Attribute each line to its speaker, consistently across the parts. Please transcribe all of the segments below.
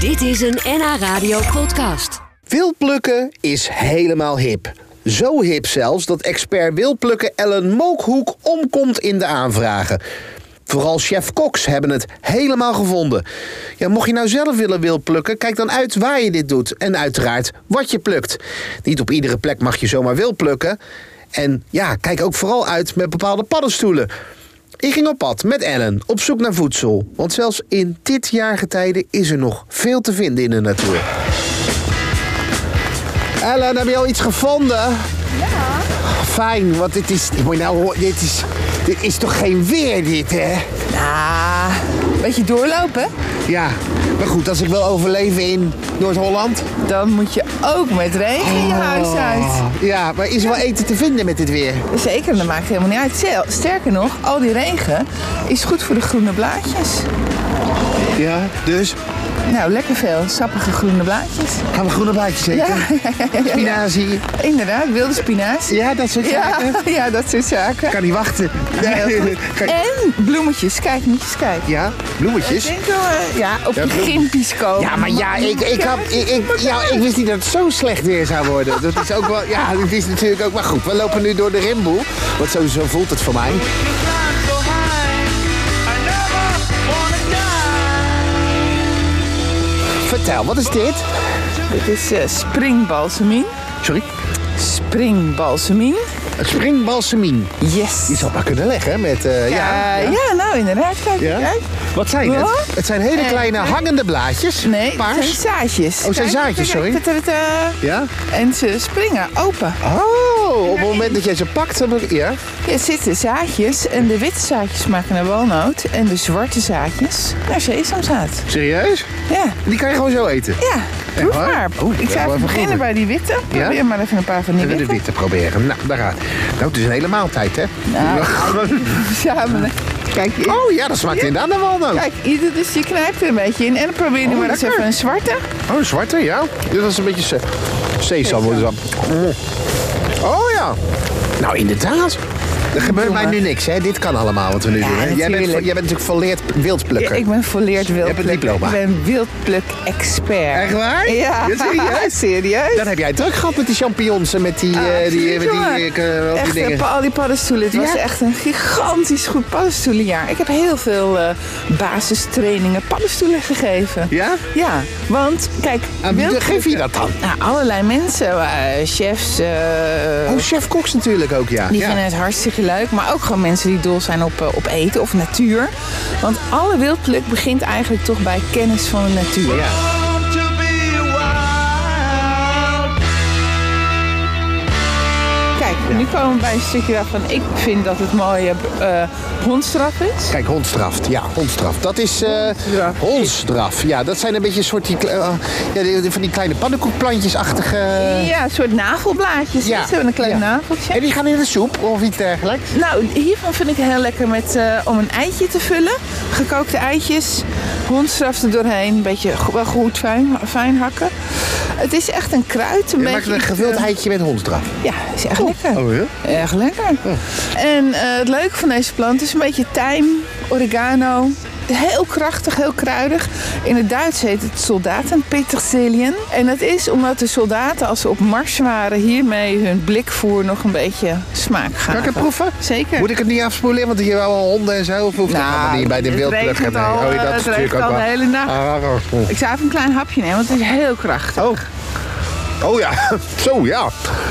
Speaker 1: Dit is een NH Radio podcast.
Speaker 2: Wilplukken is helemaal hip. Zo hip zelfs dat expert wilplukken Ellen Mookhoek omkomt in de aanvragen. Vooral chef Cox hebben het helemaal gevonden. Ja, mocht je nou zelf willen wilplukken, kijk dan uit waar je dit doet. En uiteraard wat je plukt. Niet op iedere plek mag je zomaar wilplukken. En ja, kijk ook vooral uit met bepaalde paddenstoelen. Ik ging op pad met Ellen op zoek naar voedsel. Want zelfs in dit jaargetijde is er nog veel te vinden in de natuur. Ellen, heb je al iets gevonden? Ja. Fijn, want dit is. Moet je nou, horen, dit is. Dit is toch geen weer, dit, hè?
Speaker 3: Ah, beetje doorlopen.
Speaker 2: Ja. Maar goed, als ik wil overleven in Noord-Holland. Oh.
Speaker 3: Dan moet je ook met regen je huis uit.
Speaker 2: Ja, maar is er wel eten te vinden met dit weer?
Speaker 3: Zeker, dat maakt helemaal niet uit. Stel- Sterker nog, al die regen is goed voor de groene blaadjes.
Speaker 2: Ja. Dus
Speaker 3: Nou, lekker veel sappige groene blaadjes.
Speaker 2: gaan we groene blaadjes eten?
Speaker 3: Ja,
Speaker 2: Spinazie.
Speaker 3: inderdaad, wilde spinazie.
Speaker 2: Ja, dat soort
Speaker 3: Ja,
Speaker 2: zaken.
Speaker 3: ja, dat soort zaken.
Speaker 2: Kan niet wachten.
Speaker 3: heel
Speaker 2: Kan-
Speaker 3: En bloemetjes, kijk, moet je eens kijken.
Speaker 2: Ja,
Speaker 3: Ik
Speaker 2: bloemetjes.
Speaker 3: denk wel, eh, ja, op die gimpies komen.
Speaker 2: Ja, maar ja, ik, ik, had, ik, ik- ja, ik wist niet dat het zo slecht weer zou worden. Dat is ook wel, ja, het is natuurlijk ook maar goed. We lopen nu door de rimboel, want sowieso voelt het voor mij. Vertel, wat is dit?
Speaker 3: Dit is eh springbalsemien.
Speaker 2: Sorry?
Speaker 3: Springbalsemien.
Speaker 2: Het springbalsemien.
Speaker 3: Yes.
Speaker 2: Die zal maar kunnen leggen met, eh, ja.
Speaker 3: ja, ja. nou inderdaad. Kijk,
Speaker 2: Ja?
Speaker 3: kijk.
Speaker 2: Wat zijn
Speaker 3: Wat?
Speaker 2: het? Het zijn hele
Speaker 3: Eh,
Speaker 2: kleine
Speaker 3: nee.
Speaker 2: hangende blaadjes.
Speaker 3: Nee, het zijn
Speaker 2: Paars.
Speaker 3: zaadjes.
Speaker 2: Oh, zijn
Speaker 3: Kijk,
Speaker 2: zaadjes,
Speaker 3: kijk,
Speaker 2: sorry.
Speaker 3: kijk, tut, tut, tut.
Speaker 2: Ja?
Speaker 3: En ze springen open.
Speaker 2: Oh, op het moment dat jij ze pakt, dan... Ja?
Speaker 3: Er zitten zaadjes en de witte zaadjes maken naar walnoot. En de zwarte zaadjes naar sesamzaad.
Speaker 2: Serieus?
Speaker 3: Ja,
Speaker 2: Die kan je gewoon zo eten?
Speaker 3: ja. Proef
Speaker 2: waar?
Speaker 3: maar.
Speaker 2: Oeh,
Speaker 3: ik
Speaker 2: dat
Speaker 3: zou
Speaker 2: wel
Speaker 3: even
Speaker 2: even
Speaker 3: beginnen
Speaker 2: goed.
Speaker 3: bij die witte. Probeer maar even een paar van die
Speaker 2: Even de
Speaker 3: witte
Speaker 2: witte proberen. Nou, daar gaat. Nou, het is een hele maaltijd, hè?
Speaker 3: samen. Kijk, i-
Speaker 2: Oh ja, dat smaakt inderdaad naar walnoot.
Speaker 3: kijk ieder, dus je knijpt er een beetje in. En dan probeer nu maar eens
Speaker 2: Oh, lekker.
Speaker 3: even een zwarte.
Speaker 2: Oh, een zwarte, ja. Dit was een beetje se sesam. wordt het dan. Mm. Oh ja. Nou, inderdaad. Er gebeurt mij nu niks, hè? Dit kan allemaal wat we nu doen. Hè? Jij, bent,
Speaker 3: natuurlijk.
Speaker 2: vo- jij bent natuurlijk volleerd wildplukker.
Speaker 3: Ja, ik ben volleerd
Speaker 2: hebt een
Speaker 3: wildpluk.
Speaker 2: diploma.
Speaker 3: Ik ben wildpluk-expert.
Speaker 2: Echt waar?
Speaker 3: Ja.
Speaker 2: Ja, serieus?
Speaker 3: serieus?
Speaker 2: Dan heb jij het druk gehad met die champignons en met die,
Speaker 3: Ah,
Speaker 2: eh, die,
Speaker 3: absoluut,
Speaker 2: eh, met die,
Speaker 3: jongen.
Speaker 2: eh, k- wat die
Speaker 3: echt,
Speaker 2: dingen.
Speaker 3: eh, al die paddenstoelen. Het was
Speaker 2: Ja.
Speaker 3: echt een gigantisch goed paddenstoelenjaar. Ik heb heel veel eh, basistrainingen paddenstoelen gegeven.
Speaker 2: Ja?
Speaker 3: Ja, want kijk...
Speaker 2: Aan wie
Speaker 3: wildpluk-
Speaker 2: geef je dat dan?
Speaker 3: Nou, allerlei mensen, eh, chefs, eh,
Speaker 2: Oh, chef Cox natuurlijk ook, ja.
Speaker 3: die
Speaker 2: ja.
Speaker 3: vinden het hartstikke leuk. Maar ook gewoon mensen die dol zijn op, eh, op eten of natuur. Want alle wildpluk begint eigenlijk toch bij kennis van de natuur.
Speaker 2: Ja.
Speaker 3: Kijk, nu komen we bij een stukje waarvan ik vind dat het mooie eh hondstraf is.
Speaker 2: Kijk, hondstraf. Ja, hondstraf. Dat is eh
Speaker 3: Hondstraf.
Speaker 2: hondstraf. Ja, dat zijn een beetje een soort die, kle- eh, ja, die- die- van die kleine pannenkoekplantjesachtige...
Speaker 3: Eh, Ja, een soort nagelblaadjes.
Speaker 2: Ja.
Speaker 3: Ze hebben een klein
Speaker 2: Ja.
Speaker 3: nageltje.
Speaker 2: En die gaan in de soep of iets dergelijks.
Speaker 3: Nou, hiervan vind ik heel lekker met, eh, om een eitje te vullen. Gekookte eitjes, hondstraf er doorheen. Een beetje go- wel goed fijn, fijn hakken. Het is echt een kruid. Een
Speaker 2: Je maakt
Speaker 3: beetje
Speaker 2: een
Speaker 3: iets,
Speaker 2: gewild Oh.
Speaker 3: eh,
Speaker 2: eitje met hondstraf.
Speaker 3: Ja, is echt lekker.
Speaker 2: ja?
Speaker 3: Erg lekker. En eh, het leuke van deze plant is een beetje tijm, oregano. Heel krachtig, heel kruidig. In het Duits heet het soldatenpetersilien. En dat is omdat de soldaten, als ze op mars waren, hiermee hun blikvoer nog een beetje smaak
Speaker 2: Kan ik
Speaker 3: gaven.
Speaker 2: het proeven?
Speaker 3: Zeker.
Speaker 2: Moet ik het niet afspoelen? Want hier wel honden en zo. Of hoeft dat
Speaker 3: Nou,
Speaker 2: allemaal niet bij de
Speaker 3: het
Speaker 2: wildplugger?
Speaker 3: regent al,
Speaker 2: oh,
Speaker 3: eh,
Speaker 2: dat
Speaker 3: het
Speaker 2: is natuurlijk
Speaker 3: regent
Speaker 2: ook
Speaker 3: al de hele nacht.
Speaker 2: Ah,
Speaker 3: Ik zou even een klein hapje nemen, want het is heel krachtig.
Speaker 2: Oh. Oh ja, zo ja.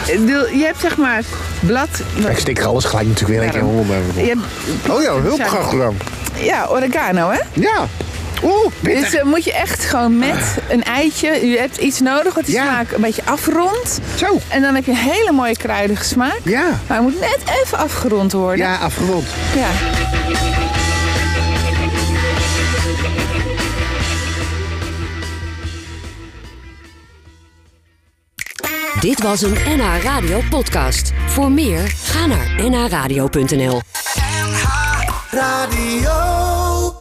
Speaker 3: Ik bedoel, Je hebt zeg maar blad...
Speaker 2: Ik stik er alles gelijk natuurlijk weer een keer
Speaker 3: Warm.
Speaker 2: onder.
Speaker 3: Je hebt,
Speaker 2: Oh ja, heel krachtig dan.
Speaker 3: ja, oregano hè?
Speaker 2: Ja. Oeh, pittig.
Speaker 3: Dus eh, moet je echt gewoon met een eitje. Je hebt iets nodig wat die
Speaker 2: Ja.
Speaker 3: smaak een beetje afrondt.
Speaker 2: Zo.
Speaker 3: En dan heb je een hele mooie kruidige smaak.
Speaker 2: Ja.
Speaker 3: Maar hij moet net even afgerond worden.
Speaker 2: Ja, afgerond.
Speaker 3: Ja.
Speaker 1: Dit was een NH Radio podcast. Voor meer, ga naar nhradio.nl.
Speaker 4: Radio.